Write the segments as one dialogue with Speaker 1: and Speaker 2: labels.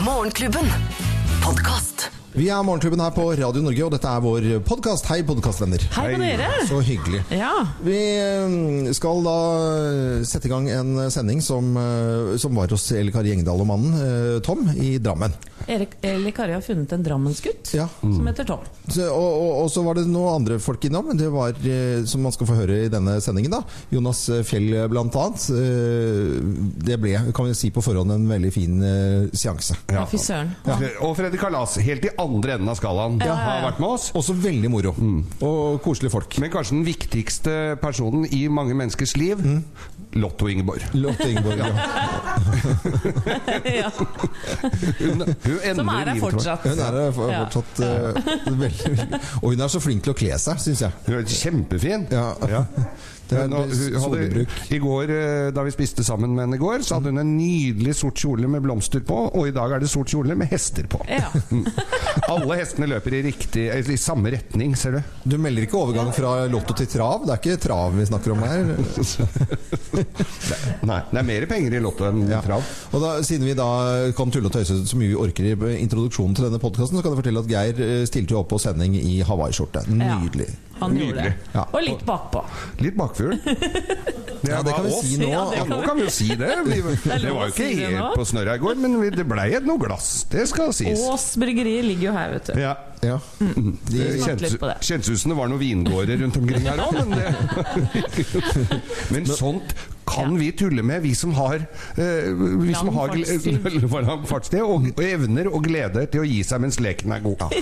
Speaker 1: Morgenklubben. Podkast.
Speaker 2: Vi er Morgenklubben her på Radio Norge, og dette er vår podkast. Hei, podkastvenner.
Speaker 3: Hei på dere!
Speaker 2: Så hyggelig.
Speaker 3: Ja.
Speaker 2: Vi eh, skal da eh, sette i gang en sending som, eh, som var hos Elle Kari Engdahl og mannen eh, Tom i Drammen.
Speaker 3: Erik eller Kari har funnet en drammensgutt
Speaker 2: Ja.
Speaker 4: Mm.
Speaker 3: som heter Tom.
Speaker 2: Så, og, og, og så var det noen andre folk innom, det var, eh, som man skal få høre i denne sendingen. da. Jonas Fjell eh, blant annet. Eh, Det ble, kan vi si på forhånd, en veldig fin eh, seanse.
Speaker 3: Ja, Fy søren.
Speaker 4: Ja. Og Freddy Kalas, helt i andre enden av skalaen, har vært med oss. Mm.
Speaker 2: Også veldig moro. Og koselige folk.
Speaker 4: Men kanskje den viktigste personen i mange menneskers liv Lotto-Ingeborg.
Speaker 2: Lotte Mm. Ingeborg. Ja.
Speaker 3: Ja.
Speaker 4: Hun, hun
Speaker 3: Som
Speaker 4: endrer
Speaker 3: er her
Speaker 4: livet vårt.
Speaker 3: fortsatt.
Speaker 2: Hun er for-
Speaker 3: Ja.
Speaker 2: fortsatt eh, veldig Og hun er så flink til å kle seg, syns jeg.
Speaker 4: Hun er kjempefin.
Speaker 2: Ja. Det er
Speaker 4: Hun, og- hun hadde,
Speaker 2: solebruk.
Speaker 4: i går, eh, da vi spiste sammen med henne i går, så hadde hun en nydelig sort kjole med blomster på, og i dag er det sort kjole med hester på.
Speaker 3: Ja.
Speaker 4: Alle hestene løper i, riktig, eh, i samme retning, ser du.
Speaker 2: Du melder ikke overgang fra lotto til trav? Det er ikke trav vi snakker om her.
Speaker 4: Nei, det er mer penger i Lotto enn i
Speaker 2: Ja.
Speaker 4: trav.
Speaker 2: Og da, Siden vi da kan tulle og tøyse så mye vi orker i introduksjonen til denne podkasten, så kan jeg fortelle at Geir eh, stilte jo opp på sending i hawaiiskjorte.
Speaker 3: Ja.
Speaker 2: Nydelig.
Speaker 3: Han gjorde det.
Speaker 2: Ja.
Speaker 3: Og litt bakpå.
Speaker 4: Litt bakfugl. Det,
Speaker 2: Ja, det kan vi si nå.
Speaker 3: Ja, det
Speaker 4: Ja, nå
Speaker 3: vi.
Speaker 4: kan vi jo si det. Vi,
Speaker 3: lov
Speaker 4: det, var
Speaker 3: å
Speaker 4: jo ikke
Speaker 3: si det nå.
Speaker 4: helt på snørra i går, men vi, det blei noe glass. Det skal sies.
Speaker 3: Ås bryggeri ligger jo her, vet du.
Speaker 4: Ja.
Speaker 2: Ja.
Speaker 4: Det
Speaker 2: De,
Speaker 3: Smakte Mm. litt
Speaker 4: kjentes-
Speaker 3: på det.
Speaker 4: Kjentes ut som det var noen vingårder rundt omkring her òg, men det Men sånt kan
Speaker 3: Ja.
Speaker 4: vi tulle med, vi som har, eh, vi som
Speaker 3: Lang
Speaker 4: har gle- lang fartstid. Og, og evner og glede til å gi seg mens leken er god.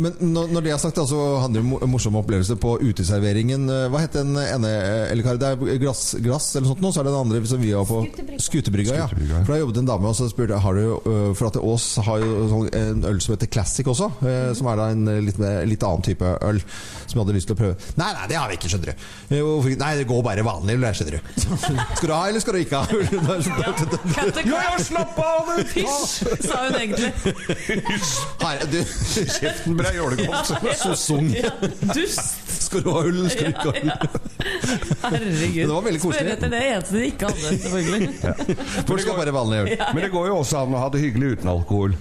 Speaker 2: men når når det er sagt, da, så handler det om mo- morsomme opplevelser på uteserveringen. Eh, Hva het den ene eh, eller Kari, Det er glass, glass eller sånt nå, så er det den andre som vi var på Skutebrygga. Ja.
Speaker 4: Skutebrygga, ja.
Speaker 2: For da jobbet en dame og så spurte jeg, har du, eh, For at Ås har jo sånn en øl som heter Classic også, eh, som er da en eh, litt, mer, litt annen type øl, som jeg hadde lyst til å prøve. Nei, nei, det har vi ikke, skjønner du. Eh, hvorfor ikke? Nei, det går bare vanlig, eller skjønner du. Skal du ha, eller skal du ikke ha? Det er sånn-
Speaker 3: Katte-
Speaker 4: Ja, ja, slapp av, du!
Speaker 3: Hysj, sa hun egentlig.
Speaker 2: Her, du,
Speaker 4: Kjeften brei ålegodt.
Speaker 2: så sung.
Speaker 3: Ja, dust.
Speaker 2: Skal du ha øl, eller skal du ikke ha øl?
Speaker 3: Herregud.
Speaker 2: Men det var veldig koselig.
Speaker 3: Spør etter det eneste de ikke hadde, selvfølgelig.
Speaker 2: For det skal bare vanlig øl.
Speaker 4: Men det går jo også an å ha det hyggelig uten alkohol.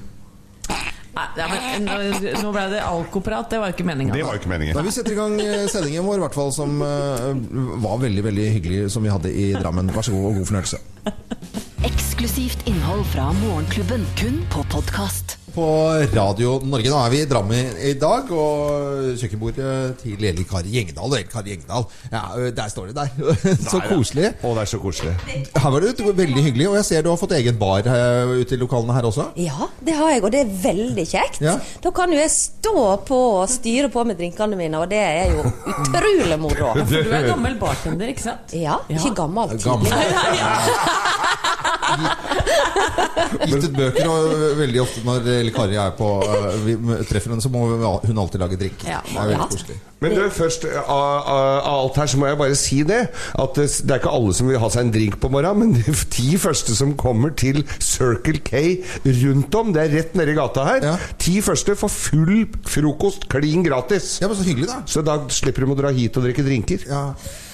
Speaker 3: Nei, ja, men, nå- nå ble det alkoprat, det var ikke meninga.
Speaker 4: Det var jo ikke
Speaker 2: Da
Speaker 4: meningen.
Speaker 2: vi setter i gang eh, sendingen vår, i hvert fall som eh, var veldig veldig hyggelig, som vi hadde i Drammen. Vær så god og god fornøyelse.
Speaker 1: Eksklusivt innhold fra Morgenklubben, kun på podkast.
Speaker 2: På Radio Norge, nå er vi i Drammen i dag, og kjøkkenbordet til Eli Kari Gjengdal. Og Eli Kari Gjengdal, ja, ø, der står det der. Så koselig.
Speaker 4: Å, det er så koselig.
Speaker 2: Her var det ut- veldig hyggelig, og jeg ser du har fått egen bar eh, ute i lokalene her også.
Speaker 5: Ja, det har jeg, og det er veldig kjekt.
Speaker 2: Ja.
Speaker 5: Da kan jo jeg stå på og styre på med drinkene mine, og det er jo utrolig moro.
Speaker 3: For du er gammel bartender, ikke sant?
Speaker 5: Ja, ikke gammel.
Speaker 2: Gammel.
Speaker 5: tidlig.
Speaker 2: Gitt ut bøker, og ø, veldig ofte når Eli Kari er på ø, Vi m- treffer henne, så må vi- hun alltid lage drink.
Speaker 3: Ja.
Speaker 2: Det er
Speaker 5: Ja.
Speaker 2: veldig koselig.
Speaker 4: Men du, først eh, av, av av alt her så må jeg bare si det. At det, det er ikke alle som vil ha seg en drink på morgenen, men de ti første som kommer til Circle K rundt om, det er rett nede i gata her,
Speaker 2: Ja.
Speaker 4: ti første får full frokost klin gratis.
Speaker 2: Ja, men Så hyggelig, da.
Speaker 4: Så da slipper de å dra hit og drikke drinker.
Speaker 2: Ja.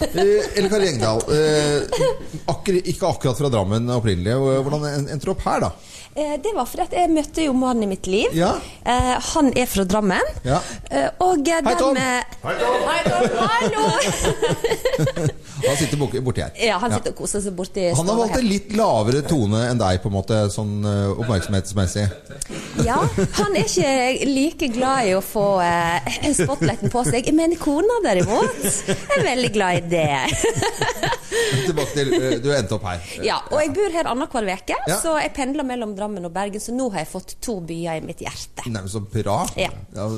Speaker 2: Eh, Elle Kari Engdahl, eh, akkur ikke akkurat fra Drammen opprinnelig. og Hvordan en- endte du opp her, da?
Speaker 5: Eh, Det var fordi at jeg møtte jo mannen i mitt liv.
Speaker 2: Ja.
Speaker 5: Eh, Han er fra Drammen.
Speaker 2: Ja.
Speaker 5: Eh, Og eh,
Speaker 2: Hei, Tom.
Speaker 5: den eh,
Speaker 4: Hei, Tom.
Speaker 5: Hei, Tom. Hallo!
Speaker 2: Han sitter bok- borti her.
Speaker 5: Ja, han sitter og koser seg borti
Speaker 2: Han har
Speaker 5: stua
Speaker 2: valgt
Speaker 5: her.
Speaker 2: en litt lavere tone enn deg, på en måte, sånn eh, oppmerksomhetsmessig.
Speaker 5: Ja, han er ikke like glad i å få eh, spotlighten på seg, men kona derimot er veldig glad i det.
Speaker 2: Tilbake til eh, Du endte opp her.
Speaker 5: Ja, og jeg bor her annenhver uke,
Speaker 2: Ja.
Speaker 5: så jeg pendler mellom Drammen og Bergen, så nå har jeg fått to byer i mitt hjerte.
Speaker 2: Nærmest så bra.
Speaker 5: Ja.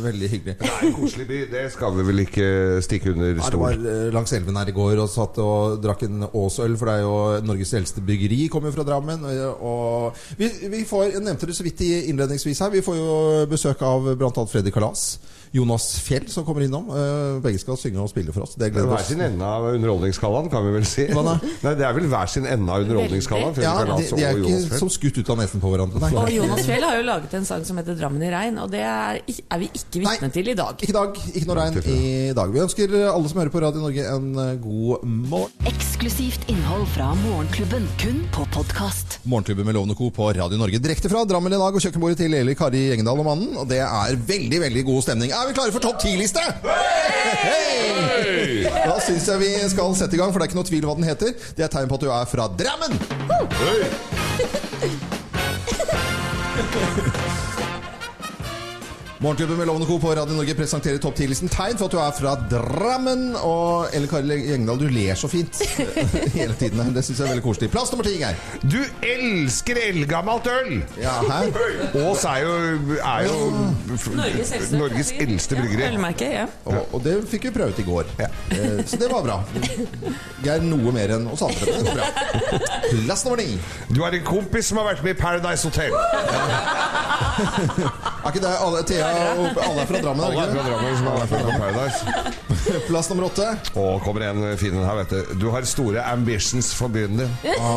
Speaker 2: Veldig hyggelig.
Speaker 4: Det er en koselig by, det skal vi vel ikke stikke under
Speaker 2: Jeg var
Speaker 4: stol.
Speaker 2: eh, langs elven her i går og satt og drakk en Åsøl, for det er jo Norges eldste byggeri, kommer jo fra Drammen. og- Og vi, vi får, jeg nevnte det så vidt i- innledningsvis her, vi får jo besøk av bl.a. Freddy Kalas. Jonas Fjell som kommer innom. Eh, Begge skal synge og spille for oss. Det
Speaker 4: Det
Speaker 2: gleder vi
Speaker 4: er
Speaker 2: oss
Speaker 4: sin ende av underholdningsskalaen, kan vi vel si. riktig.
Speaker 2: Hva da?
Speaker 4: Nei, Det er vel hver sin ende av Underholdningskanalen.
Speaker 2: Ja,
Speaker 4: Fredrik
Speaker 2: de,
Speaker 4: Lasse
Speaker 2: de er
Speaker 4: og Jonas
Speaker 2: ikke
Speaker 4: Fjell.
Speaker 2: som skutt ut av nesen på
Speaker 3: Og
Speaker 2: hverandre. Nei.
Speaker 3: Jonas Fjell har jo laget en sang som heter 'Drammen i regn', og det er, ik- er vi ikke vitne
Speaker 2: Nei.
Speaker 3: til i dag.
Speaker 2: Ikke i dag. Ikke noe regn i dag. Vi ønsker alle som hører på Radio Norge, en eh, god morgen.
Speaker 1: Eksklusivt innhold fra Morgenklubben, kun på podkast.
Speaker 2: Morgenklubben med Lovende Co. på Radio Norge direkte fra Drammen i dag og kjøkkenbordet til Eli Kari Gjengdal og mannen. Og det er veldig, veldig god stemning. Er vi klare for topp ti-liste? Hei! Da syns jeg vi skal sette i gang, for det er ikke noe tvil hva den heter. Det er tegn på at du er fra Drammen. Morgenklubben med Lovende Co. på Radio Norge presenterer topp 10-listen tegn for at du er fra Drammen. Og Ellen Kari Gjengdal, du ler så fint hele tiden. her. Det syns jeg er veldig koselig. Plass nummer ti, Geir.
Speaker 4: Du elsker eldgammelt øl!
Speaker 2: Ja, her.
Speaker 4: Ås er jo, er jo
Speaker 3: Norges eldste.
Speaker 4: Norges eldste
Speaker 3: Ja,
Speaker 4: bryggeri.
Speaker 3: ølmerke, ja.
Speaker 2: Og, og det fikk vi prøvet i går.
Speaker 4: Ja.
Speaker 2: Eh, Så det var bra. Geir noe mer enn oss andre. men det går bra. Plass nummer ni.
Speaker 4: Du har en kompis som har vært med i Paradise Hotel.
Speaker 2: Er ikke det alle, Thea og alle er fra Drammen?
Speaker 4: Alle er fra
Speaker 2: Er det
Speaker 4: Drammen som har vært med på Paradise.
Speaker 2: ikke? Plass nummer åtte.
Speaker 4: Og kommer en fin en her, vet du. Du har store ambitions for byen din.
Speaker 2: Ah,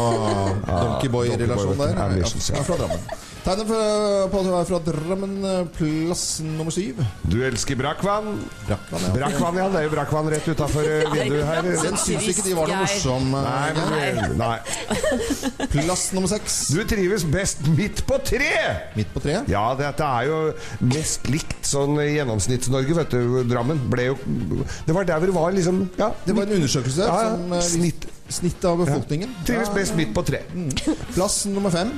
Speaker 2: Donkeyboy-relasjon
Speaker 4: Donkey Boy,
Speaker 2: der.
Speaker 4: vet du. Ambitions, ja.
Speaker 2: Er fra Drammen. Tegnet for- på at du er fra Drammen. eh, Plass nummer syv.
Speaker 4: Du elsker brakkvann.
Speaker 2: Brakkvann, ja.
Speaker 4: Brakkvann, ja. Det er jo brakkvann rett utafor eh, vinduet her.
Speaker 2: Den syns ikke de var noe morsomme.
Speaker 4: Nei, men du, nei.
Speaker 2: Plass nummer seks.
Speaker 4: du trives best midt på tre!
Speaker 2: Midt på treet.
Speaker 4: Ja, dette er jo mest likt sånn i Gjennomsnitts-Norge, vet du. Drammen ble jo Det var der hvor det var, liksom. Ja,
Speaker 2: Det var en undersøkelse
Speaker 4: Ja, ja.
Speaker 2: som eh, viste
Speaker 4: Snitt.
Speaker 2: snitt av befolkningen.
Speaker 4: Trives best midt på tre.
Speaker 2: Plass nummer fem.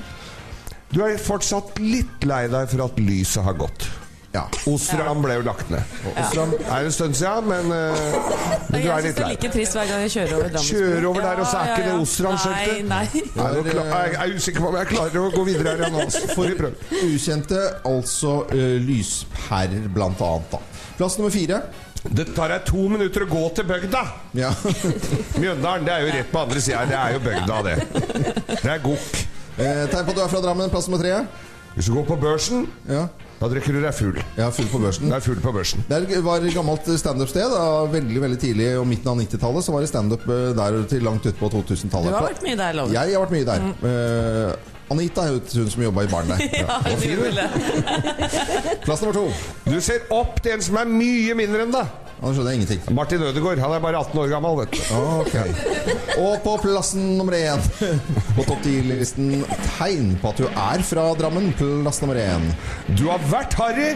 Speaker 4: Du er fortsatt litt lei deg for at lyset har gått.
Speaker 2: Ja.
Speaker 4: Ostram ble jo lagt ned.
Speaker 2: Ostram.
Speaker 4: Det er en stund siden, men, eh, men du
Speaker 3: Jeg syns
Speaker 4: er litt
Speaker 3: det er
Speaker 4: lei.
Speaker 3: like trist hver gang jeg kjører over Drammen.
Speaker 4: Kjører over der, og så er ikke det Ostram-skiltet.
Speaker 3: Nei, nei.
Speaker 4: Er du klar- Jeg er usikker på om jeg klarer å gå videre her igjen. altså. Får vi prøve.
Speaker 2: Ukjente, altså eh, lyspærer, blant annet. Da. Plass nummer fire.
Speaker 4: Det tar deg to minutter å gå til bygda!
Speaker 2: Ja.
Speaker 4: Mjøndalen det er jo rett på andre sida. Det er jo bygda, det. Det er gokk.
Speaker 2: Eh, tegn på at du er fra Drammen. Plass nummer tre.
Speaker 4: Hvis du går på børsen,
Speaker 2: Ja.
Speaker 4: da drikker du deg full.
Speaker 2: Jeg er full på børsen.
Speaker 4: Du er full på børsen.
Speaker 2: Der var et gammelt standup-sted. da, Veldig veldig tidlig og midten av 90-tallet så var det standup eh, der til langt ut på 2000-tallet.
Speaker 3: Du har vært mye der, Loven. Mm.
Speaker 2: Jeg har vært mye der. Eh, Anita er jo hun som jobba i baren der.
Speaker 3: Ja, det er mulig.
Speaker 2: Plass nummer to.
Speaker 4: Du ser opp til en som er mye mindre enn deg.
Speaker 2: Nå skjønner jeg ingenting.
Speaker 4: Martin Ødegaard. Han er bare 18 år gammel, vet du.
Speaker 2: Ok. Og på plassen nummer én på topp 10-listen tegn på at du er fra Drammen. Plass nummer Mm. én.
Speaker 4: Du har vært harry,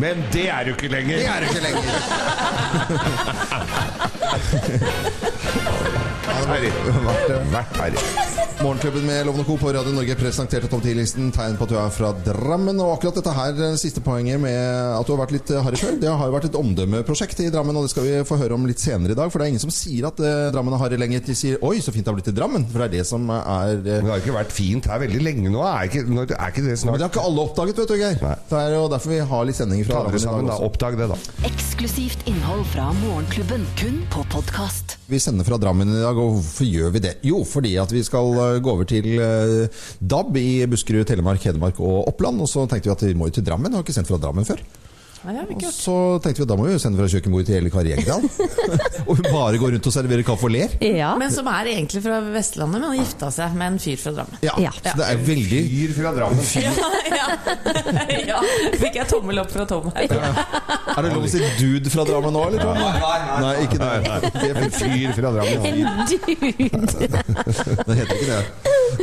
Speaker 4: men det er du ikke lenger.
Speaker 2: Det er du ikke lenger.
Speaker 4: Harry.
Speaker 2: Vært, eh,
Speaker 4: Vært harry.
Speaker 2: Morgenklubben med Lovende Co. på Radio Norge presenterte topp 10-listen tegn på at du er fra Drammen. Og akkurat dette her, eh, siste poenget med at du har vært litt eh, harry før, det har jo vært et omdømmeprosjekt i Drammen, og det skal vi få høre om litt senere i dag. For det er ingen som sier at eh, Drammen er harry lenger. De sier 'oi, så fint det har blitt i Drammen', for det er det som er eh,
Speaker 4: Men det har jo ikke vært fint her veldig lenge nå. Er ikke, når- er ikke det
Speaker 2: Men
Speaker 4: snart
Speaker 2: det har ikke alle oppdaget, vet du, Geir.
Speaker 4: Nei.
Speaker 2: Det er jo derfor vi har litt sendinger fra
Speaker 4: Ta dere sammen,
Speaker 2: Drammen i dag
Speaker 4: da.
Speaker 2: også.
Speaker 4: Oppdag det, da.
Speaker 1: Eksklusivt innhold fra Morgenklubben, kun på podkast.
Speaker 2: Vi sender fra Drammen i dag, og hvorfor gjør vi det? Jo, fordi at vi skal eh, gå over til eh, DAB i Buskerud, Telemark, Hedmark og Oppland. Og så tenkte vi at vi må jo til Drammen, har ikke sendt fra Drammen før.
Speaker 3: Nei, det har vi
Speaker 2: Og
Speaker 3: ikke gjort.
Speaker 2: så tenkte vi at da må vi jo sende fra kjøkkenbordet til Eli Kari Engdahl. og hun bare går rundt og serverer kaffe og ler.
Speaker 5: Ja.
Speaker 3: Men som er egentlig fra Vestlandet, men har gifta seg med en fyr fra Drammen.
Speaker 2: Ja,
Speaker 5: Ja.
Speaker 2: Så det er veldig
Speaker 4: Fyr fra Drammen.
Speaker 3: Ja, ja. ja. Fikk jeg tommel opp fra Tom her.
Speaker 2: Er det lov å si dude fra Drammen nå, eller? Nei, nei, nei, nei ikke det. Det
Speaker 4: En fyr fra Drammen. ja.
Speaker 2: Det heter ikke det.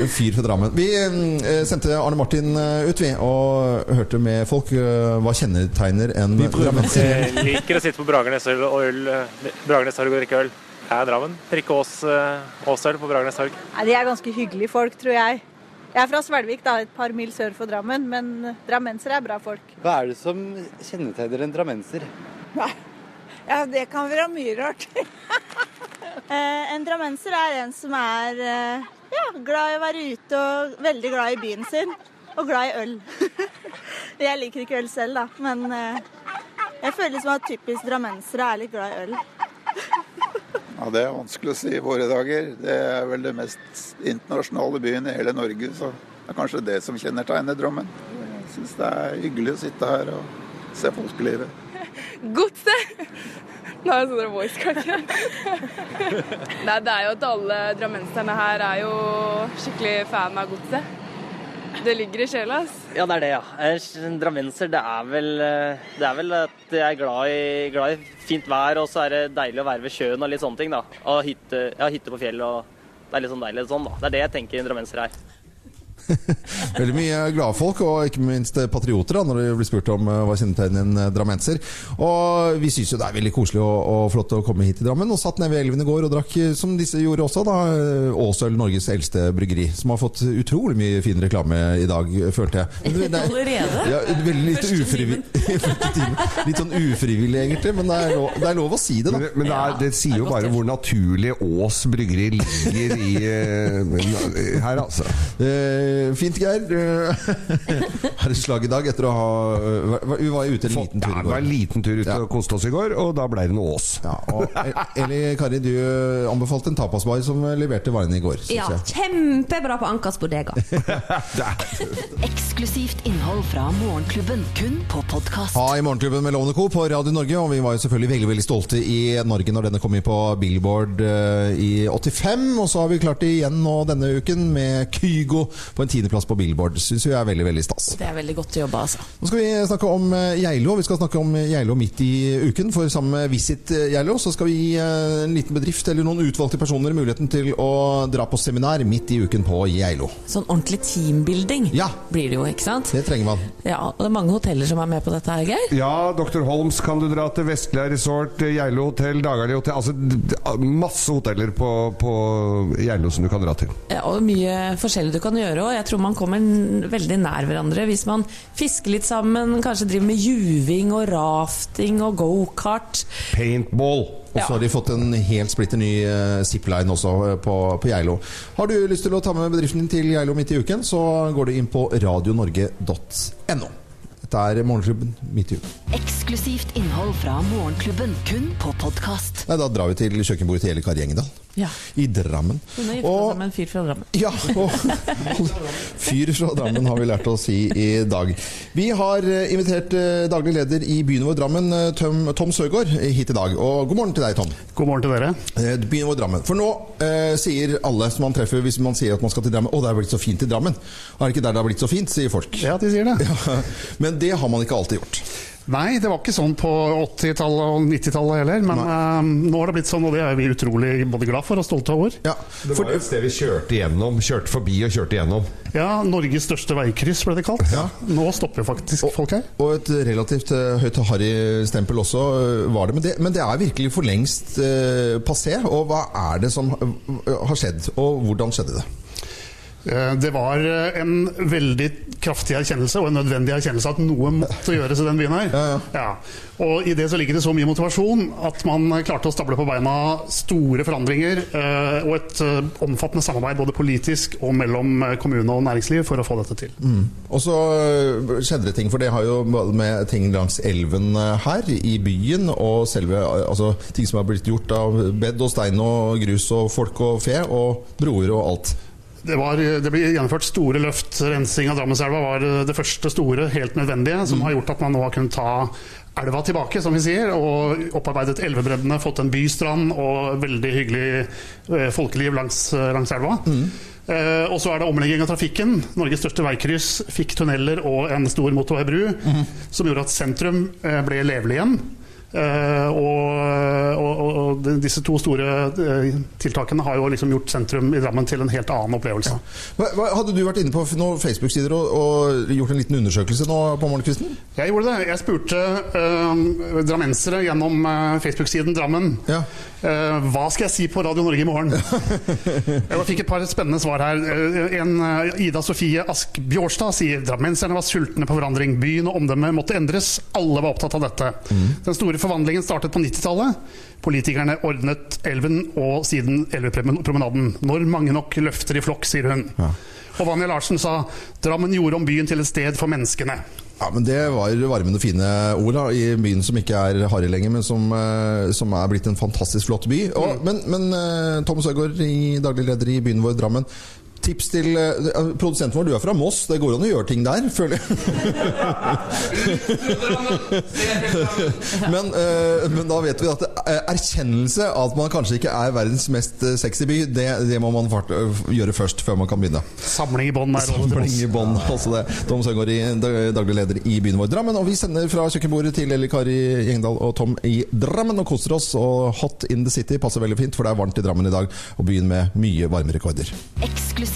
Speaker 2: En fyr fra Drammen. Vi eh, sendte Arne Martin eh, ut, vi, og hørte med folk. eh, hva kjennetegner en drammenser?
Speaker 6: Eh, liker å sitte på Bragernes øl og øl eh, Bragernes Torg og drikke øl. Jeg er Drammen. Drikke Ås, eh, Åsøl på Bragernes Torg.
Speaker 7: Nei, De er ganske hyggelige folk, tror jeg. Jeg er fra Svelvik, da, et par mil sør for Drammen, men drammensere er bra folk.
Speaker 8: Hva er det som kjennetegner en drammenser?
Speaker 7: Ja, det kan være mye rart. Eh, en drammenser er en som er eh, ja, glad i å være ute og veldig glad i byen sin. Og glad i øl. jeg liker ikke øl selv, da, men eh, jeg føler som at typisk drammensere er litt glad i øl.
Speaker 9: Ja, Det er vanskelig å si i våre dager. Det er vel det mest internasjonale byen i hele Norge, så det er kanskje det som kjennetegner Drammen. Jeg syns det er hyggelig å sitte her og se folkelivet.
Speaker 10: Godset. Nei, sånn der voice crack. Nei, det er jo at alle drammenserne her er jo skikkelig fan av godset. Det ligger i sjela, ass.
Speaker 11: Ja, det er det, ja. Jeg er En drammenser, det er vel, eh, det er vel at jeg er glad i, glad i fint vær, og så er det deilig å være ved sjøen og litt sånne ting, da. Og hytte, ja, hytte på fjell og det er litt sånn deilig sånn, da. Det er det jeg tenker en drammenser er.
Speaker 2: Veldig mye glade folk, og ikke minst eh, patrioter, da, når de blir spurt om eh, hva kjennetegner en drammenser. Og vi syns jo det er veldig koselig og, og flott å komme hit til Drammen. Og satt ned ved elven i går og drakk, eh, som disse gjorde også, da eh, Åsøl, Norges eldste bryggeri. Som har fått utrolig mye fin reklame i dag, følte jeg. Men det er-
Speaker 3: Allerede?
Speaker 2: Ja, veldig litt ufrivillig. Litt sånn ufrivillig, egentlig, men det er lov, det er lov å si det, da.
Speaker 4: Men, men det, er, det sier jo bare hvor naturlig Ås bryggeri ligger i eh, men- her, altså.
Speaker 2: Eh, fint, Geir. Eh, Her er slag i dag etter å ha eh, hva- Vi var ute en liten tur i går.
Speaker 4: det var en liten tur ute og koste oss i går, og da ble det noe Ås.
Speaker 2: Ja, og El- Eli Kari, du eh, anbefalte en tapasbar som leverte varene i går. synes
Speaker 5: Ja,
Speaker 2: jeg.
Speaker 5: kjempebra på Ankers Bodega.
Speaker 1: Eksklusivt innhold fra Morgenklubben, kun på podkast.
Speaker 2: Ha i Morgenklubben med Lovende Co. på Radio Norge. Og vi var jo selvfølgelig veldig veldig stolte i Norge når denne kom inn på Billboard eh, i 85. Og så har vi klart det igjen nå denne uken med Kygo på en tiendeplass på Billboard. Syns vi er veldig, veldig stas.
Speaker 3: Det er veldig godt jobba, altså.
Speaker 2: Nå skal vi snakke om eh, Geilo. Vi skal snakke om eh, Geilo midt i uken. For sammen med Visit Geilo så skal vi gi eh, en liten bedrift eller noen utvalgte personer muligheten til å dra på seminar midt i uken på Geilo.
Speaker 3: Sånn ordentlig teambuilding blir det jo, ikke sant?
Speaker 2: Det trenger man.
Speaker 3: Ja, og det er mange hoteller som er med på dette her, Geir.
Speaker 4: Ja, Dr. Holms kan du dra til Vestlia Resort, øh, Geilo hotell, Dagali hotell Altså d- d- masse hoteller på, på Geilo som du kan dra til.
Speaker 3: Ja, og mye forskjellig du kan gjøre. Og jeg tror man kommer n- veldig nær hverandre hvis man fisker litt sammen, kanskje driver med juving og rafting og gokart.
Speaker 4: Paintball.
Speaker 2: Og så har de fått en helt splitter ny eh, zipline også eh, på, på Geilo. Har du lyst til å ta med bedriften din til Geilo midt i uken, så går du inn på radionorge.no. Dette er Morgenklubben midt i uken.
Speaker 1: Eksklusivt innhold fra Morgenklubben, kun på podkast.
Speaker 2: Nei, da drar vi til kjøkkenbordet til Eli Kari Engedal.
Speaker 3: Ja.
Speaker 2: I Drammen.
Speaker 3: Hun har gifta seg med en fyr fra Drammen.
Speaker 2: Ja, og fyr fra Drammen har vi lært å si i dag. Vi har eh, invitert eh, daglig leder i byen vår Drammen, eh, Tom, Tom Søgaard, eh, hit i dag. Og god morgen til deg, Tom.
Speaker 12: God morgen til dere.
Speaker 2: Byen vår Drammen. For nå eh, sier alle som man treffer hvis man sier at man skal til Drammen, å, det er blitt så fint i Drammen. Er det ikke der det har blitt så fint, sier folk.
Speaker 12: Ja, de sier det.
Speaker 2: Men det har man ikke alltid gjort.
Speaker 12: Nei, det var ikke sånn på 80-tallet og 90-tallet heller, men eh, nå har det blitt sånn, og det er vi utrolig både glad for og stolte over.
Speaker 2: Ja,
Speaker 4: Det var jo et sted vi kjørte gjennom. Kjørte forbi og kjørte gjennom.
Speaker 12: Norges største veikryss ble det kalt. Nå stopper faktisk folk her.
Speaker 2: Og et relativt eh, høyt og harry stempel også eh, var det. Men, det. men det er virkelig for lengst eh, passé. Og hva er det som eh, har skjedd, og hvordan skjedde det?
Speaker 12: Eh, Det var eh, en veldig kraftig erkjennelse og en nødvendig erkjennelse at noe måtte gjøres i den byen her. Ja. Og i det så ligger det så mye motivasjon at man klarte å stable på beina store forandringer eh, og et eh, omfattende samarbeid både politisk og mellom eh, kommune og næringsliv for å få dette til.
Speaker 2: Mm. Og så øh, skjedde det ting, for det har jo med ting langs elven øh, her i byen, og selve øh, altså, ting som har blitt gjort av bed og stein og grus og folk og fe og broer og alt.
Speaker 12: Det, var, det ble gjennomført store løft. Rensing av Drammenselva var eh, det første store, helt nødvendige, som har gjort at man nå har kunnet ta elva tilbake, som vi sier, og opparbeidet elvebreddene, fått en bystrand og veldig hyggelig eh, folkeliv langs, langs elva. Eh, og så er det omlegging av trafikken. Norges største veikryss fikk tunneler og en stor motorveibru, som gjorde at sentrum eh, ble levelig igjen. Eh, og, og, og- og de- disse to store eh, tiltakene har jo liksom gjort sentrum i Drammen til en helt annen opplevelse.
Speaker 2: Hva, hva, hadde du vært inne på f- noen Facebook-sider og, og gjort en liten undersøkelse nå på morgenkvisten?
Speaker 12: Jeg gjorde det. Jeg spurte eh, drammensere gjennom eh, Facebook-siden Drammen. Eh, hva skal jeg si på Radio Norge i morgen? jeg fikk et par spennende svar her. Eh, en eh, Ida Sofie Ask Bjårstad sier drammenserne var sultne på forandring. Byen og omdømmet måtte endres. Alle var opptatt av dette.
Speaker 3: Mm.
Speaker 12: Den store forvandlingen startet på 90-tallet. Politikerne ordnet elven og siden elvepromenaden. Når mange nok løfter i flokk, sier hun. Og Vanja Larsen sa Drammen gjorde om byen til et sted for menneskene.
Speaker 2: Ja, men Det var varmende, fine ord da, i byen som ikke er harry lenger, men som, øh, som er eh, blitt en fantastisk flott by. Og, Men, men øh, Tom Søgaard, i- daglig leder i byen vår Drammen, Tips til eh, produsenten vår, du er fra Moss, det går an å gjøre ting der, føler jeg. men, eh, men da vet vi at eh, erkjennelse av at man kanskje ikke er verdens mest eh, sexy by, det, det må man fart, eh, gjøre først, før man kan begynne.
Speaker 12: Samling i bånn er rådet til
Speaker 2: Samling
Speaker 12: oss.
Speaker 2: i bånd, altså det. Tom Søgaard, i- dag- daglig leder i byen vår Drammen. Og vi sender fra kjøkkenbordet til Eli Kari Gjengdal og Tom i Drammen og koser oss. Og Hot in the City passer veldig fint, for det er varmt i Drammen i dag, og byen med mye varmerekorder.
Speaker 1: Eksklusivt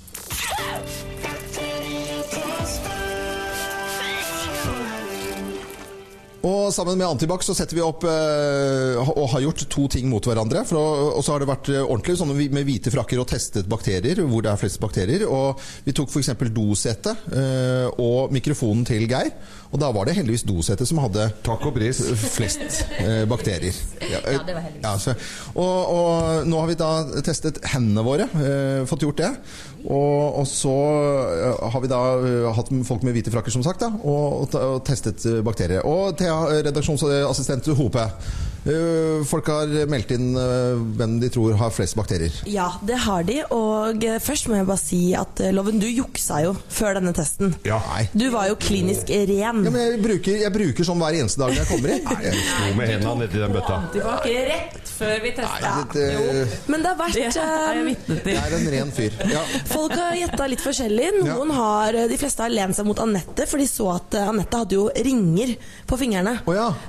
Speaker 2: Og sammen med Antibac så setter vi opp eh, og har gjort to ting mot hverandre. For å, og så har det vært eh, ordentlig sånn med hvite frakker og testet bakterier hvor det er flest bakterier. Og vi tok f.eks. dosetet eh, og mikrofonen til Geir. Og da var det heldigvis dosetet som hadde flest eh, bakterier. Ja, eh,
Speaker 13: Ja, det var heldigvis.
Speaker 2: ja, så, og, og nå har vi da testet hendene våre, eh, fått gjort det. Og, og så eh, har vi da eh, hatt folk med hvite frakker, som sagt, da, og, og, og testet eh, bakterier. Og Thea, eh, redaksjonsassistent Hope. eh, folk har meldt inn eh, hvem de tror har flest bakterier.
Speaker 14: Ja, det har de. Og eh, først må jeg bare si at eh, Loven, du juksa jo før denne testen.
Speaker 2: Nei.
Speaker 14: Du var jo klinisk ren.
Speaker 2: Ja, men jeg bruker, jeg bruker sånn hver eneste dag når jeg kommer inn. Nei, jeg
Speaker 4: slo med hendene nedi den bøtta.
Speaker 3: Tilbake rett før vi testa.
Speaker 2: Det,
Speaker 14: Men det har vært eh,
Speaker 2: jeg er en ren fyr. Ja.
Speaker 14: Folk har gjetta litt forskjellig. Noen har, De fleste har lent seg mot Anette, for de så at eh, Anette hadde jo ringer på fingrene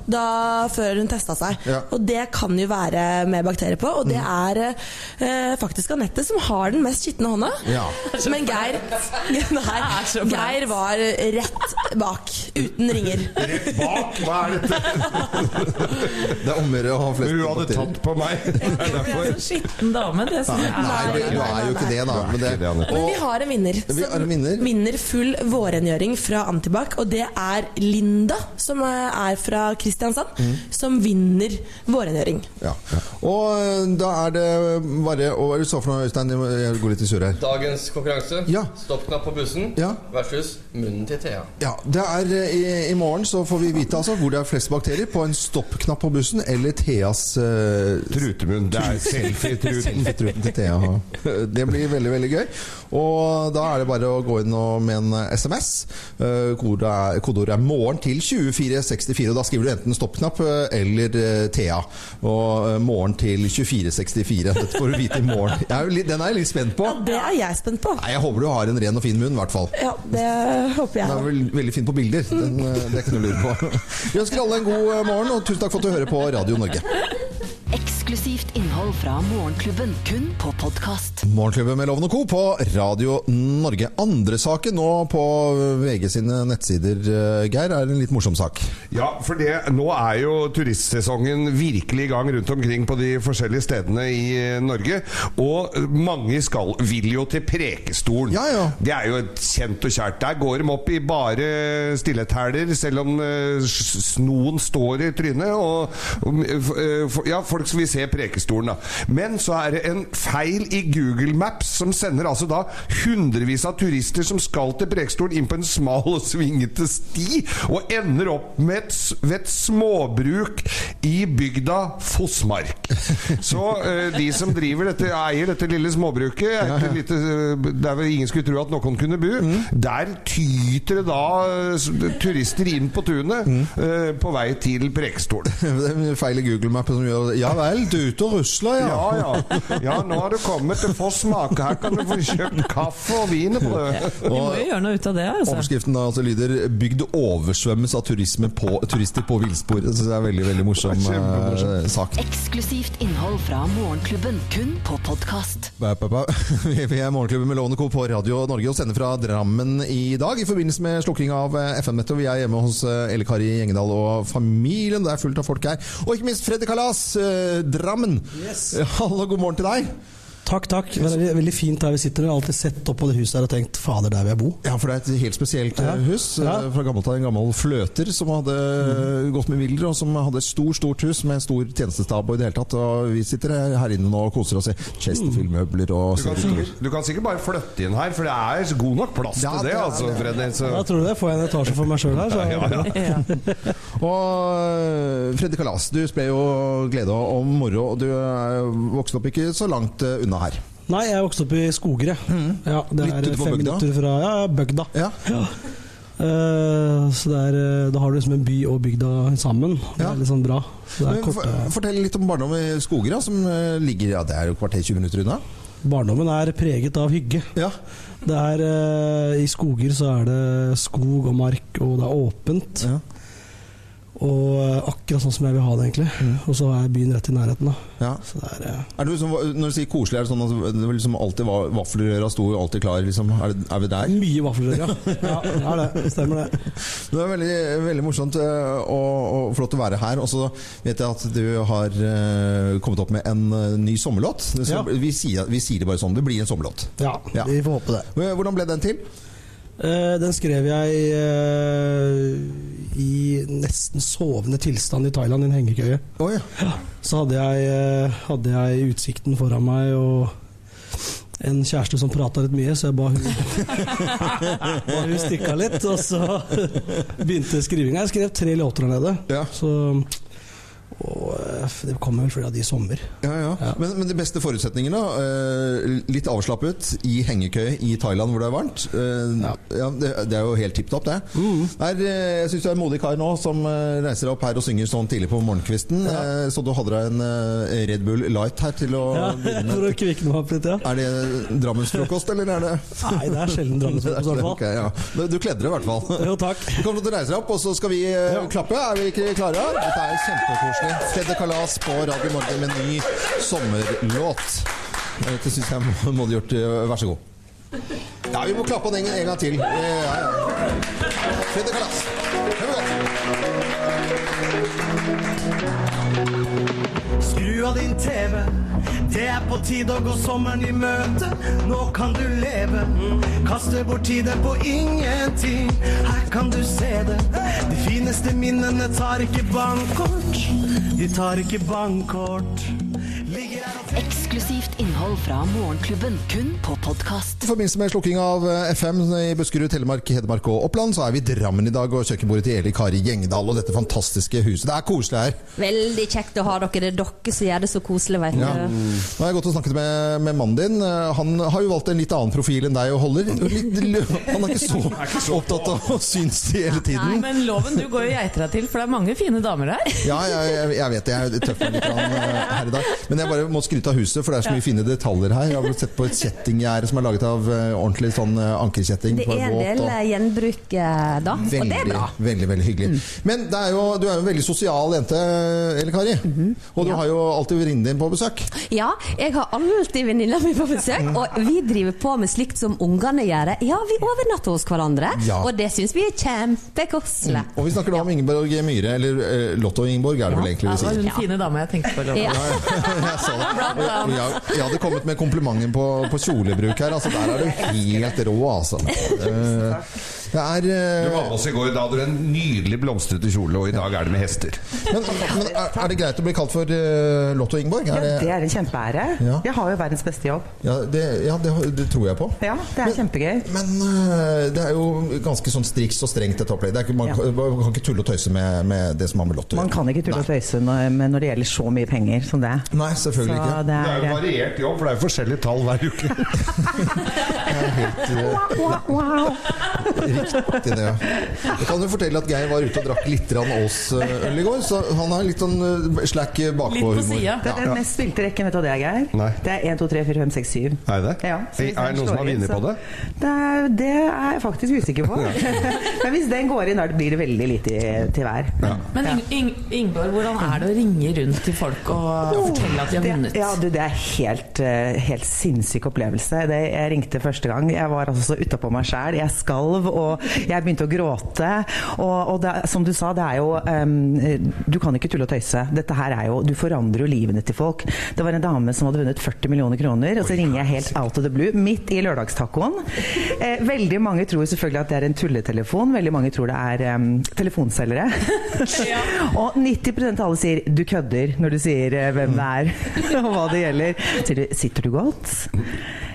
Speaker 14: da, før hun testa seg.
Speaker 2: Ja.
Speaker 14: Og det kan jo være med bakterier på. Og det
Speaker 4: Mm.
Speaker 14: er eh, faktisk Anette som har den mest skitne hånda.
Speaker 2: Ja.
Speaker 14: Men Geir Nei, Geir var rett bak, uten ringer.
Speaker 4: Rett bak? Hva er dette?
Speaker 2: Det er om å gjøre å ha flest
Speaker 4: Men hun hadde
Speaker 2: bakterier.
Speaker 4: tatt på meg. Det er derfor.
Speaker 3: Skitten dame, det som
Speaker 2: Nei, nei, du er jo ikke det, da. Men det,
Speaker 14: Men
Speaker 2: og,
Speaker 14: vi har en vinner.
Speaker 2: Vi
Speaker 14: som
Speaker 2: har en vinner.
Speaker 14: full vårrengjøring fra Antibac. Og det er Linda, som eh, er fra Kristiansand,
Speaker 2: Mm.
Speaker 14: som vinner vårrengjøring.
Speaker 2: Ja. Og eh, da er det bare å Hva er det du sa for noe, Øystein? Jeg må- Jeg går litt i surr her.
Speaker 15: Dagens konkurranse.
Speaker 2: Ja.
Speaker 15: Stoppknapp på bussen
Speaker 2: Ja.
Speaker 15: versus munnen til Thea.
Speaker 2: Ja, det er eh, i, I morgen så får vi vite altså hvor det er flest bakterier. På en stoppknapp på bussen eller Theas eh,
Speaker 4: Trutemunn. Det er selfie-truten.
Speaker 2: Selfie-truten til Thea. Det blir veldig veldig gøy. Og da er det bare å gå inn og med en SMS. Eh, Kodeordet er, kodeordet er 'morgen' til 2464. Og da skriver du enten stoppknapp eh, eller eh, Thea. Og eh, 'morgen til 2464'. Dette får du vite i morgen. Jeg er jo litt, den er jeg litt spent på.
Speaker 14: Det er jeg spent på.
Speaker 2: Nei, Jeg håper du har en ren og fin munn, i hvert fall.
Speaker 14: Ja, det håper jeg.
Speaker 2: Den er vel, veldig fin på bilder. Den, eh, det er ikke noe å lure på. Vi ønsker alle en god eh, morgen, og tusen takk for at du hører på Radio Norge.
Speaker 1: Eksklusivt innhold fra Morgenklubben, kun på podkast.
Speaker 2: Morgenklubben med Loven og Co. på Radio Norge. Andre saken nå på VG sine nettsider, eh, Geir, er en litt morsom sak.
Speaker 4: Ja, for det, nå er jo turistsesongen virkelig i gang rundt omkring på de forskjellige stedene i eh, Norge. Og eh, mange skal, vil jo til Prekestolen. Det er jo et kjent og kjært. Der går de opp i bare stillethæler, selv om eh, s- snoen står i trynet. Og, og, eh, f- eh, f- ja, folk som vil se Prekestolen, da. Men så er det en feil i Google Maps som sender altså da hundrevis av turister som skal til Prekestolen, inn på en smal og svingete sti, og ender opp med et, s- ved et småbruk i bygda Fossmark. Så eh, de som driver dette, eier dette lille småbruket, et lite, eh, der vel ingen skulle tro at noen kunne bo, der tyter det da eh, s- turister inn på tunet eh, på vei til Prekestolen.
Speaker 2: Det er en feil i Google-mappen som gjør Ja vel, du er ute og rusler, ja.
Speaker 4: Ja, ja. ja, nå har du kommet til Fossmark. Her kan du få kjøpt kaffe og wienerbrød.
Speaker 3: Vi må jo gjøre noe ut av det, altså.
Speaker 2: Overskriften da, altså lyder 'Bygd oversvømmes av turisme på, turister på villsporet'. Så det er veldig, veldig morsom eh, sak.
Speaker 1: Eksklusivt innhold fra Morgenklubben, kun på podkast.
Speaker 2: Ba, ba, ba. Vi er Morgenklubben med Lovende Co. på Radio Norge og sender fra Drammen i dag i forbindelse med slukking av eh, FN-nettet. Vi er hjemme hos eh, Elle Kari Gjengedal og familien. Det er fullt av folk her. Og ikke minst Freddy Kalas, eh, Drammen.
Speaker 16: Yes.
Speaker 2: Hallo, god morgen til deg.
Speaker 13: Takk, takk. Det er veldig- veldig fint der vi sitter. Jeg har alltid sett opp på det huset her og tenkt 'fader, der vil jeg bo'.
Speaker 2: Ja, for det er et helt spesielt eh, hus. eh,
Speaker 13: Ja.
Speaker 2: Fra gammelt av en gammel fløter som hadde eh,
Speaker 4: Mm.
Speaker 2: gått med vilder, og som hadde et stort, stort hus med en stor tjenestestab og i det hele tatt. Og vi sitter her- her inne nå og koser oss i Chesterfield-møbler og
Speaker 4: Mm. Du kan, sikkert, du kan sikkert bare flytte inn her, for det er god nok plass til det, altså, Freddy. Så.
Speaker 13: Da tror du det. Får jeg en etasje for meg sjøl her, så
Speaker 4: Ja, ja.
Speaker 2: Og eh, Freddy Kalas, du sprer jo glede og moro. og Du er jo vokst opp ikke så langt eh, unna her.
Speaker 13: Nei, jeg er vokst opp i Skogre. Ja, det
Speaker 2: Mm. Litt
Speaker 13: er eh,
Speaker 2: ute på
Speaker 13: fem
Speaker 2: bygda?
Speaker 13: minutter fra ja, ja, bygda. Eh, så det er, eh, da har du liksom en by og bygda sammen. Det er litt sånn bra. Så det er eh.
Speaker 2: Men
Speaker 13: korte-
Speaker 2: for, fortell litt om barndom i Skogra, som eh, ligger ja, det er jo kvarter 20 minutter unna.
Speaker 13: Barndommen er preget av hygge. Det er, eh, I skoger så er det skog og mark, og det er åpent. Og eh, akkurat sånn som jeg vil ha det, egentlig. Og så er byen rett i nærheten. Da. Så det er, eh,
Speaker 2: Er det liksom, når du sier koselig, er det sånn at det var liksom alltid var, vaffelrøra sto jo alltid klar? Liksom. Er, det, er vi der?
Speaker 13: Mye vafler, ja. ja det er det. Stemmer det.
Speaker 2: Det var veldig, veldig morsomt eh, og, og flott å være her. Og så vet jeg at du har eh, kommet opp med en eh, ny sommerlåt. Det skal- Vi, sier, vi sier det bare sånn. Det blir en sommerlåt.
Speaker 13: Ja,
Speaker 2: Ja.
Speaker 13: vi får håpe det.
Speaker 2: Hvordan ble den til?
Speaker 13: den skrev jeg eh, i nesten sovende tilstand i Thailand, i en hengekøye. Ja, Så hadde jeg, eh, hadde jeg utsikten foran meg og en kjæreste som prata litt mye, så jeg ba hun, ba hun stikke av litt. Og så begynte skrivinga. Jeg skrev tre låter der nede. Så, og eh, det kommer vel flere av de i sommer.
Speaker 2: Ja, ja. Men, men de beste forutsetningene? eh, litt avslappet i hengekøye i Thailand hvor det er varmt. Eh, ja. det, det er jo helt tipp topp, det. Er, eh, jeg syns du er en modig kar nå som eh, reiser deg opp her og synger sånn tidlig på morgenkvisten. Eh, så du hadde deg en eh, Red Bull Light her til å
Speaker 13: Ja,
Speaker 2: begynne med.
Speaker 13: for å kvikne meg opp litt, ja.
Speaker 2: Er det drammensfrokost, eller er det
Speaker 13: Nei, det er sjelden drammensfrokost, i hvert fall.
Speaker 2: Ok, ja. Men Du kledde det i hvert fall.
Speaker 13: Jo, takk.
Speaker 2: Du kommer til å reise deg opp, og så skal vi eh, klappe. Er vi ikke klare? Dette er kjempekoselig. Fredde Kalas på Radio Norge med ny sommerlåt. Eh, Dette syns jeg må- må du gjort. eh, Vær så god. Ja, vi må klappe den en gang til. Eh, Ja, ja. Fredde Kalas. Det var
Speaker 16: Skru av din TV. Det er på tide å gå sommeren i møte. Nå kan du leve. Kaste bort tiden på ingenting. Her kan du se det. De fineste minnene tar ikke bankkort. De tar ikke bankkort.
Speaker 1: Eksklusivt innhold fra Morgenklubben, kun på podkast.
Speaker 2: I forbindelse med slukking av eh, FM i Buskerud, Telemark, Hedmark og Oppland, så er vi i Drammen i dag og kjøkkenbordet til Eli Kari Gjengdal og dette fantastiske huset. Det er koselig her.
Speaker 5: Veldig kjekt å ha dere. Det er dere som gjør det så koselig, vet du.
Speaker 2: Ja. Nå har jeg gått og snakket med, med mannen din. Eh, Han har jo valgt en litt annen profil enn deg og holder. Litt, han er ikke så, opptatt av å synes det
Speaker 3: Nei,
Speaker 2: hele tiden.
Speaker 3: men loven, du går jo geiter deg til, for det er mange fine damer her.
Speaker 2: Ja, jeg, jeg, jeg vet det. Jeg tøffer meg litt grann, eh, her i dag. Men jeg bare må skryte av huset, for det er så mye fine detaljer her. Jeg har sett på et kjettinggjerde som er laget av eh, ordentlig sånn eh, ankerkjetting.
Speaker 5: Det
Speaker 2: for
Speaker 5: er en
Speaker 2: båt
Speaker 5: del
Speaker 2: og-
Speaker 5: eh, gjenbruk eh, da, og det er
Speaker 2: Veldig,
Speaker 5: bra.
Speaker 2: veldig, veldig hyggelig.
Speaker 3: Mm.
Speaker 2: Men det er jo, du er jo en veldig sosial jente, Eli Kari.
Speaker 3: Mhm.
Speaker 2: Og du har jo alltid venninnen din på besøk.
Speaker 5: Ja, jeg har alltid venninna mi på besøk, og vi driver på med slikt som ungene gjør. Ja, vi overnatter hos hverandre,
Speaker 2: Ja.
Speaker 5: og det syns vi er kjempekoselig.
Speaker 2: Og vi snakker da om Ingeborg Myhre, eller eh, Lotto-Ingeborg er det vel egentlig
Speaker 3: Ja,
Speaker 2: vi
Speaker 3: det var
Speaker 2: sier.
Speaker 3: hun fine dama jeg tenkte på. Loven.
Speaker 5: Ja.
Speaker 2: Jeg så det.
Speaker 3: Blant annet.
Speaker 2: Jeg, jeg hadde kommet med komplimenten på, på kjolebruk her. Altså, der er du helt rå, altså. Eh, Det er eh,
Speaker 4: Du var med oss i går, da hadde du en nydelig blomstrete kjole, og i dag er det med hester.
Speaker 2: men, men er, er det greit å bli kalt for eh, Lotto-Ingeborg?
Speaker 17: Ja,
Speaker 2: Er
Speaker 17: det
Speaker 2: det,
Speaker 17: er en kjempeære. Jeg har jo verdens beste jobb.
Speaker 2: ja, det, ja det, det tror jeg på.
Speaker 17: Ja, det er kjempegøy.
Speaker 2: Men eh, det er jo ganske sånn striks og strengt dette opplegget. Det er ikke- Man,
Speaker 17: Ja.
Speaker 2: man kan ikke tulle og tøyse med, med det som har med Lotto å
Speaker 17: Man
Speaker 2: gjøre.
Speaker 17: kan ikke tulle og tøyse når, men når det gjelder så mye penger som det.
Speaker 2: Nei, selvfølgelig
Speaker 17: så
Speaker 2: ikke.
Speaker 17: Det
Speaker 4: Det er
Speaker 17: er,
Speaker 4: jo variert jobb, for det er jo forskjellige tall hver uke.
Speaker 2: Riktig det, ja. Jeg kan jo fortelle at Geir var ute og drakk litt grann Ås-øl i går, så han har litt sånn eh, slack bakpå-humor.
Speaker 17: Det er den mest spilte rekken, vet du hva det er, Geir? Det er 1, 2, 3, 4, 5, 6, 7.
Speaker 4: Er det?
Speaker 17: Ja, så hvis
Speaker 4: Er det
Speaker 17: den
Speaker 4: noen som
Speaker 17: slår
Speaker 4: har
Speaker 17: inn,
Speaker 4: vunnet på
Speaker 17: så-
Speaker 4: det?
Speaker 17: Det er, det er jeg faktisk usikker på. men hvis den går inn, da blir det veldig lite i- til hver.
Speaker 3: Men Ing Ing Ingeborg, hvordan er det å ringe rundt til folk og fortelle at de har vunnet?
Speaker 17: Det, ja, du, det er helt, eh, helt sinnssyk opplevelse. Det, jeg ringte første gang. Jeg var altså så utapå meg sjæl. Jeg skalv og
Speaker 18: og jeg begynte å gråte. Og, og det, er- som du sa, det er jo ehm, Du kan ikke tulle og tøyse. Dette her er jo Du forandrer jo livene til folk. Det var en dame som hadde vunnet 40 millioner kroner, og så ringer jeg helt out of the blue midt i lørdagstacoen. Eh, veldig mange tror selvfølgelig at det er en tulletelefon. Veldig mange tror det er ehm, telefonselgere. og 90 av alle sier 'du kødder' når du sier eh, hvem det er og hva det gjelder. Så Sier du 'sitter du godt'?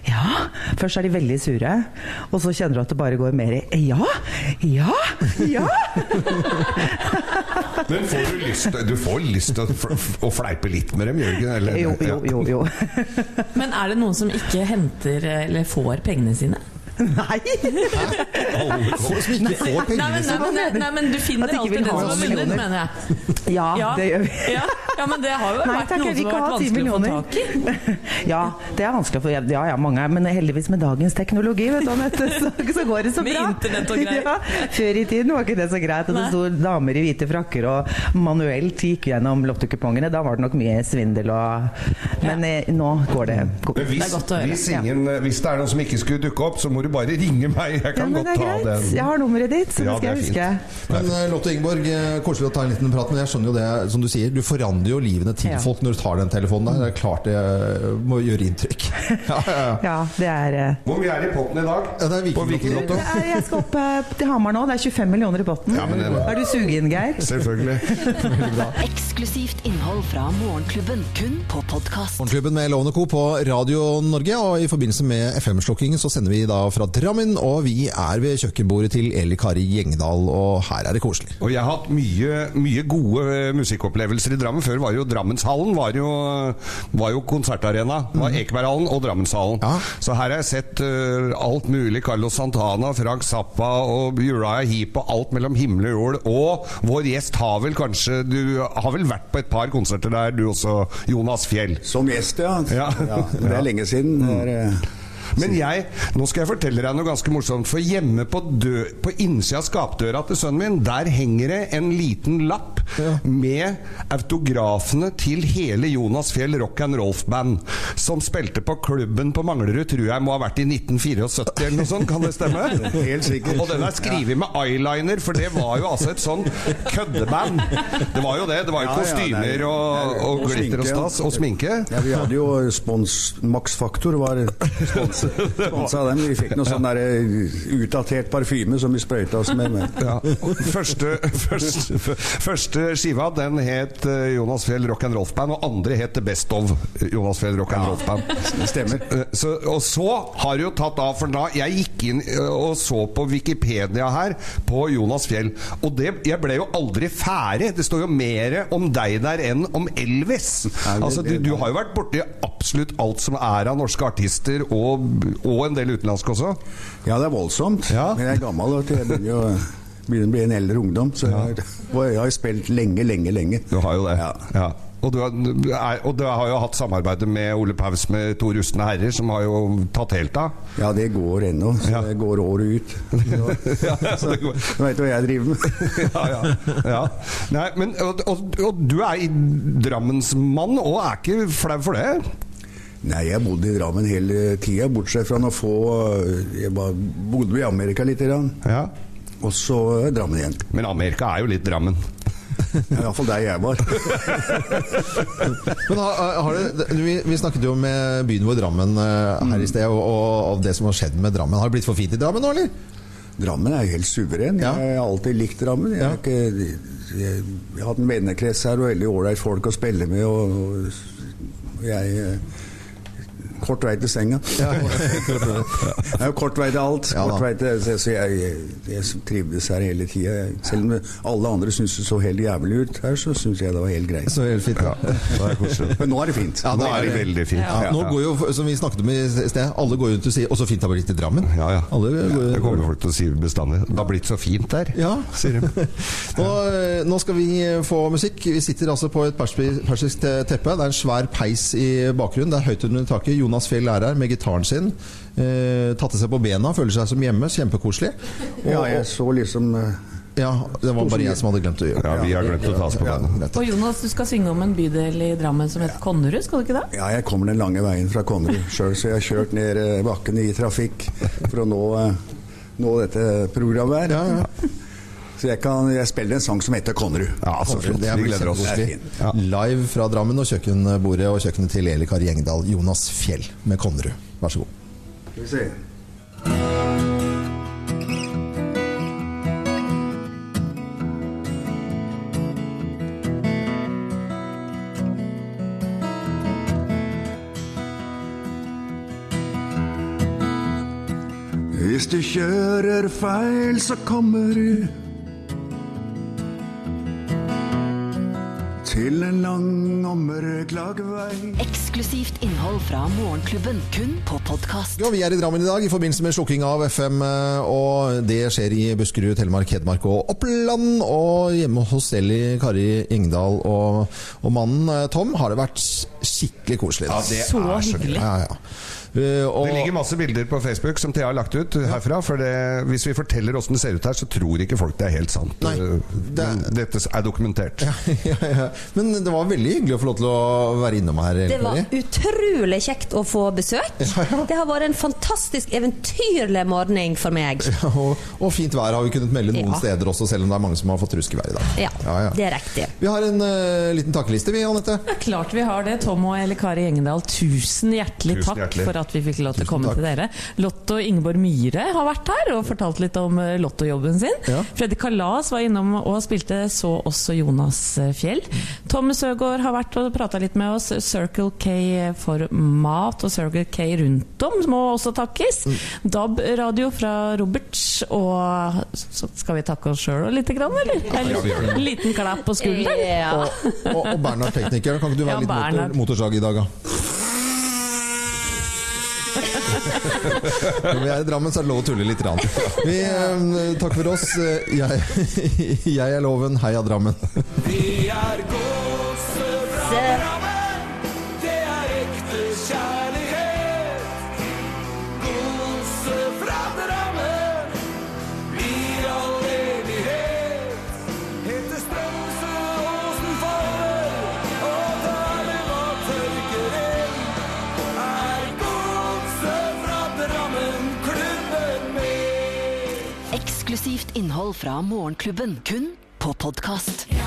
Speaker 18: Ja. Først er de veldig sure, og så kjenner du at det bare går mer i ja, ja, ja.
Speaker 4: Men får du lyst Du får lyst til å f- å fleipe litt med dem, gjør du ikke det? eller?
Speaker 18: Jo, jo, jo, jo.
Speaker 3: Men er det noen som ikke henter eh, eller får pengene sine?
Speaker 18: Nei!
Speaker 2: Folk som ikke får pengene
Speaker 3: nei, men,
Speaker 2: sine.
Speaker 3: nei, men, nei, men du
Speaker 18: At
Speaker 3: finner
Speaker 18: de ikke vil
Speaker 3: alltid den
Speaker 18: ha
Speaker 3: som har
Speaker 18: oss
Speaker 3: vunnet,
Speaker 18: millioner.
Speaker 3: mener jeg.
Speaker 18: Ja, det gjør vi.
Speaker 3: Ja, ja, men det har jo
Speaker 18: Nei
Speaker 3: vært
Speaker 18: takk,
Speaker 3: noe
Speaker 18: jeg vil
Speaker 3: som
Speaker 18: ikke
Speaker 3: har
Speaker 18: ha
Speaker 3: vært
Speaker 18: 10
Speaker 3: vanskelig å få
Speaker 18: millioner.
Speaker 3: tak i.
Speaker 18: Ja, det er vanskelig å få Ja ja, mange er Men heldigvis med dagens teknologi, vet du, Anette, så, så går det så
Speaker 3: Med
Speaker 18: bra.
Speaker 3: internett og greier.
Speaker 18: Ja, før i tiden var ikke det så greit. Og det
Speaker 3: Nei.
Speaker 18: sto damer i hvite frakker og manuelt gikk gjennom lottekupongene. Da var det nok mye svindel og Men eh, nå går det
Speaker 4: Men hvis, hvis,
Speaker 18: Ja.
Speaker 4: ingen, eh, hvis det er noen som ikke skulle dukke opp, så må du bare ringe meg. Jeg kan
Speaker 18: men
Speaker 4: godt
Speaker 18: det er
Speaker 4: ta
Speaker 18: greit.
Speaker 4: den.
Speaker 18: Jeg har nummeret ditt, så
Speaker 4: Ja,
Speaker 18: det skal jeg
Speaker 4: det
Speaker 18: huske.
Speaker 4: er
Speaker 2: Men eh, Lotte Ingeborg, eh, koselig å ta en liten prat, men jeg skjønner jo det som du sier. Du forandrer jo livene til
Speaker 18: Ja.
Speaker 2: folk når du tar den telefonen der. Det er klart det eh, må gjøre inntrykk. Ja, ja, ja.
Speaker 18: Ja, det er eh,
Speaker 4: Hvor mye er det i potten i dag?
Speaker 2: Ja, det er
Speaker 18: Det
Speaker 2: Vikinglotto.
Speaker 18: er- Jeg skal opp eh, til Hamar nå. Det er 25 millioner i potten.
Speaker 2: Ja, men det er bra.
Speaker 18: er du sugen, Geir?
Speaker 4: Selvfølgelig.
Speaker 1: Eksklusivt innhold fra Morgenklubben, kun på podkast.
Speaker 2: Morgenklubben med Lovende Co. på Radio Norge, og i forbindelse med FM-slukkingen så sender vi da fra Drammen, og vi er ved kjøkkenbordet til Eli Kari Gjengdal, og her er det koselig.
Speaker 4: Og jeg har hatt mye, mye gode eh, musikkopplevelser i Drammen. Før var jo Drammenshallen var jo, var jo konsertarena. Det var Ekeberghallen og Drammenshallen. Så her har jeg sett eh, alt mulig. Carlos Santana, Frank Zappa og Uriah Heap og alt mellom himmel og jord. Og vår gjest har vel kanskje Du har vel vært på et par konserter der, du også, Jonas Fjell? Mm.
Speaker 19: Som gjest, ja. Ja, det er lenge siden. Det er, eh,
Speaker 4: Men jeg, nå skal jeg fortelle deg noe ganske morsomt. For hjemme på, dø, på innsida av skapdøra til sønnen min, der henger det en liten lapp med autografene til hele Jonas Fjell Rock and Rolf-band, som spilte på klubben på Manglerud, tror jeg må ha vært i 1974 eller noe sånt. Kan det stemme?
Speaker 19: Helt sikkert.
Speaker 4: Og den er skrevet med eyeliner, for det var jo altså et sånn køddeband. Det var jo det. Det
Speaker 19: Ja,
Speaker 4: var jo
Speaker 19: ja, det
Speaker 4: kostymer
Speaker 19: er-
Speaker 4: og, og glitter og
Speaker 19: sminke, ja.
Speaker 4: stas og sminke.
Speaker 19: Ja, vi hadde jo spons Max Faktor var spons- sponsa dem. Vi fikk noe sånn der eh, utdatert parfyme som vi sprøyta oss med. med.
Speaker 4: Ja. Første, første, første skiva den het eh, Jonas Fjell Rock and Rolf Band, og andre het The Best of eh, Jonas Fjell Rock and Rolf Band. Eh,
Speaker 19: Stemmer.
Speaker 4: Så, og så har det jo tatt av, for da jeg gikk inn eh, og så på Wikipedia her på Jonas Fjell, og det, jeg ble jo aldri ferdig. Det står jo mer om deg der enn om Elvis. Altså, du, du har jo vært borti absolutt alt som er av norske artister, og, og en del utenlandske også.
Speaker 19: Ja, det er voldsomt. Men jeg er gammel. Vet du. Jeg begynner jo begynner å bli en eldre ungdom. Så jeg, har- jeg har spilt lenge, lenge, lenge.
Speaker 4: Du har jo det. Ja. Og, du har, er, og du har jo hatt samarbeidet med Ole Paus med To rustne herrer, som har jo tatt helt av.
Speaker 19: Ja, det går ennå. Så det går året ut. Så, du veit hva jeg driver med.
Speaker 4: ja, ja. ja. Nei, men, og, og, og du er i drammensmann, og er ikke flau for det?
Speaker 19: Nei, jeg bodde i Drammen hele tida, bortsett fra noen få eh, Jeg var, bodde i Amerika litt. Grann. Og så eh, Drammen igjen.
Speaker 4: Men Amerika er jo litt Drammen.
Speaker 19: Iallfall der jeg var.
Speaker 2: Men har, har det, vi, vi snakket jo med byen vår Drammen eh, her i sted, og, og, og det som har skjedd med Drammen. Har det blitt for fint i Drammen nå, eller?
Speaker 19: Drammen er helt suveren. Jeg har alltid likt Drammen. Jeg, har ikke, jeg, jeg har hatt en vennekrets her og veldig ålreit folk å spille med. Og, og jeg eh, Kort vei til senga. Det er jo kort vei til alt.
Speaker 2: Ja, da.
Speaker 19: kort vei til, så så jeg, jeg, jeg trivdes her hele tida. Selv om alle andre syntes det så helt jævlig ut her, så syns jeg det var helt greit.
Speaker 2: Så helt fint, ja.
Speaker 19: Men nå er det fint.
Speaker 2: Ja,
Speaker 19: Nå er det veldig fint.
Speaker 2: Ja,
Speaker 19: Ja.
Speaker 2: nå går jo, som vi snakket om i sted, alle går jo ut og sier 'Å, så fint det har blitt i Drammen'.
Speaker 4: Ja, ja.
Speaker 2: Alle går,
Speaker 4: Det kommer folk til å si bestandig. Det har blitt så fint der, sier de.
Speaker 2: Nå, eh, nå skal vi få musikk. Vi sitter altså på et perspi- persisk te- teppe. Det er en svær peis i bakgrunnen. Det er høyt under taket. Jonas Fjell er her med gitaren sin. Eh, tatte seg på bena, føler seg som hjemme. Kjempekoselig.
Speaker 19: Ja, jeg så liksom
Speaker 2: Ja, det var bare jeg som hadde glemt å gjøre det.
Speaker 4: Ja, vi har glemt å ta oss på
Speaker 2: Ja,
Speaker 4: bena.
Speaker 3: Og Jonas, du skal synge om en bydel i Drammen som heter Konnerud, skal du ikke det?
Speaker 19: Ja, jeg kommer den lange veien fra Konnerud sjøl, så jeg har kjørt ned eh, bakken i trafikk for å nå eh, nå dette programmet her. Så jeg, kan, jeg spiller en sang som heter Konnerud.
Speaker 2: Ja, så flott.
Speaker 19: Det
Speaker 2: Det blir
Speaker 19: gleder oss til.
Speaker 2: kjempekoselig. Ja. Live fra Drammen og kjøkkenbordet og kjøkkenet til Eli Kari Gjengdal. Jonas Fjell med Konnerud. Vær så god.
Speaker 19: Skal vi se.
Speaker 20: Hvis du kjører feil, så kommer du til en lang og mørk lagvei.
Speaker 1: Eksklusivt innhold fra Morgenklubben, kun på podkast.
Speaker 2: Ja, vi er i Drammen i dag i forbindelse med slukking av FM, eh, og det skjer i Buskerud, Telemark, Hedmark og Oppland. Og hjemme hos Eli Kari Gjengdal og, og mannen eh, Tom har det vært skikkelig koselig.
Speaker 4: Ja, det er Så så gøy. hyggelig.
Speaker 2: Ja, ja. Eh, og-
Speaker 4: Det ligger masse bilder på Facebook som Thea har lagt ut herfra. For det, hvis vi forteller åssen det ser ut her, så tror ikke folk det er helt sant. Eh, Men Dette er dokumentert.
Speaker 2: ja, ja. Men det var veldig hyggelig å få lov til å være innom her.
Speaker 5: Det var
Speaker 2: Kari.
Speaker 5: utrolig kjekt å få besøk. Det har vært en fantastisk eventyrlig morgen for meg.
Speaker 2: og, og fint vær har vi kunnet melde noen
Speaker 5: Ja.
Speaker 2: steder også, selv om det er mange som har fått ruskevær i dag.
Speaker 5: Ja,
Speaker 2: ja.
Speaker 5: det er riktig.
Speaker 2: Vi har en eh, liten takkeliste, vi, Anette.
Speaker 3: Det er klart vi har det. Tom og Eli Kari Gjengedal, tusen hjertelig
Speaker 2: Tusen
Speaker 3: takk
Speaker 2: hjertelig.
Speaker 3: for at vi fikk lov til å komme til dere. Lotto Ingeborg Myhre har vært her og fortalt litt om eh, lottojobben sin.
Speaker 2: Ja.
Speaker 3: Freddy Kalas var innom og spilte, så også Jonas eh, Fjell. Tom Søgaard har vært og prata litt med oss. Circle K for mat og Circle K rundt om må også takkes.
Speaker 2: Mm.
Speaker 3: DAB-radio fra Roberts, og så skal vi takke oss sjøl og lite grann, eller?
Speaker 2: Ja, vi gjør det.
Speaker 3: En liten klapp på skulderen.
Speaker 5: Ja.
Speaker 2: Og, og Bernhard teknikeren, kan ikke du være
Speaker 3: Ja,
Speaker 2: litt
Speaker 3: Bernhard.
Speaker 2: motor, motorsag i dag, da? Når vi er i Drammen, så er det lov å tulle litt. Rann. Vi, eh, takk for oss. Eh, Jeg, jeg er Loven, heia Drammen.
Speaker 16: Vi er gåse fra Drammen. Det er ekte kjærlighet. Gåse fra Drammen. I all evighet. Heter Strømsø Åsen for og Dalevar tørkeregn. Er gåse fra Drammen klubben med.
Speaker 1: Eksklusivt innhold fra Morgenklubben, kun på podkast.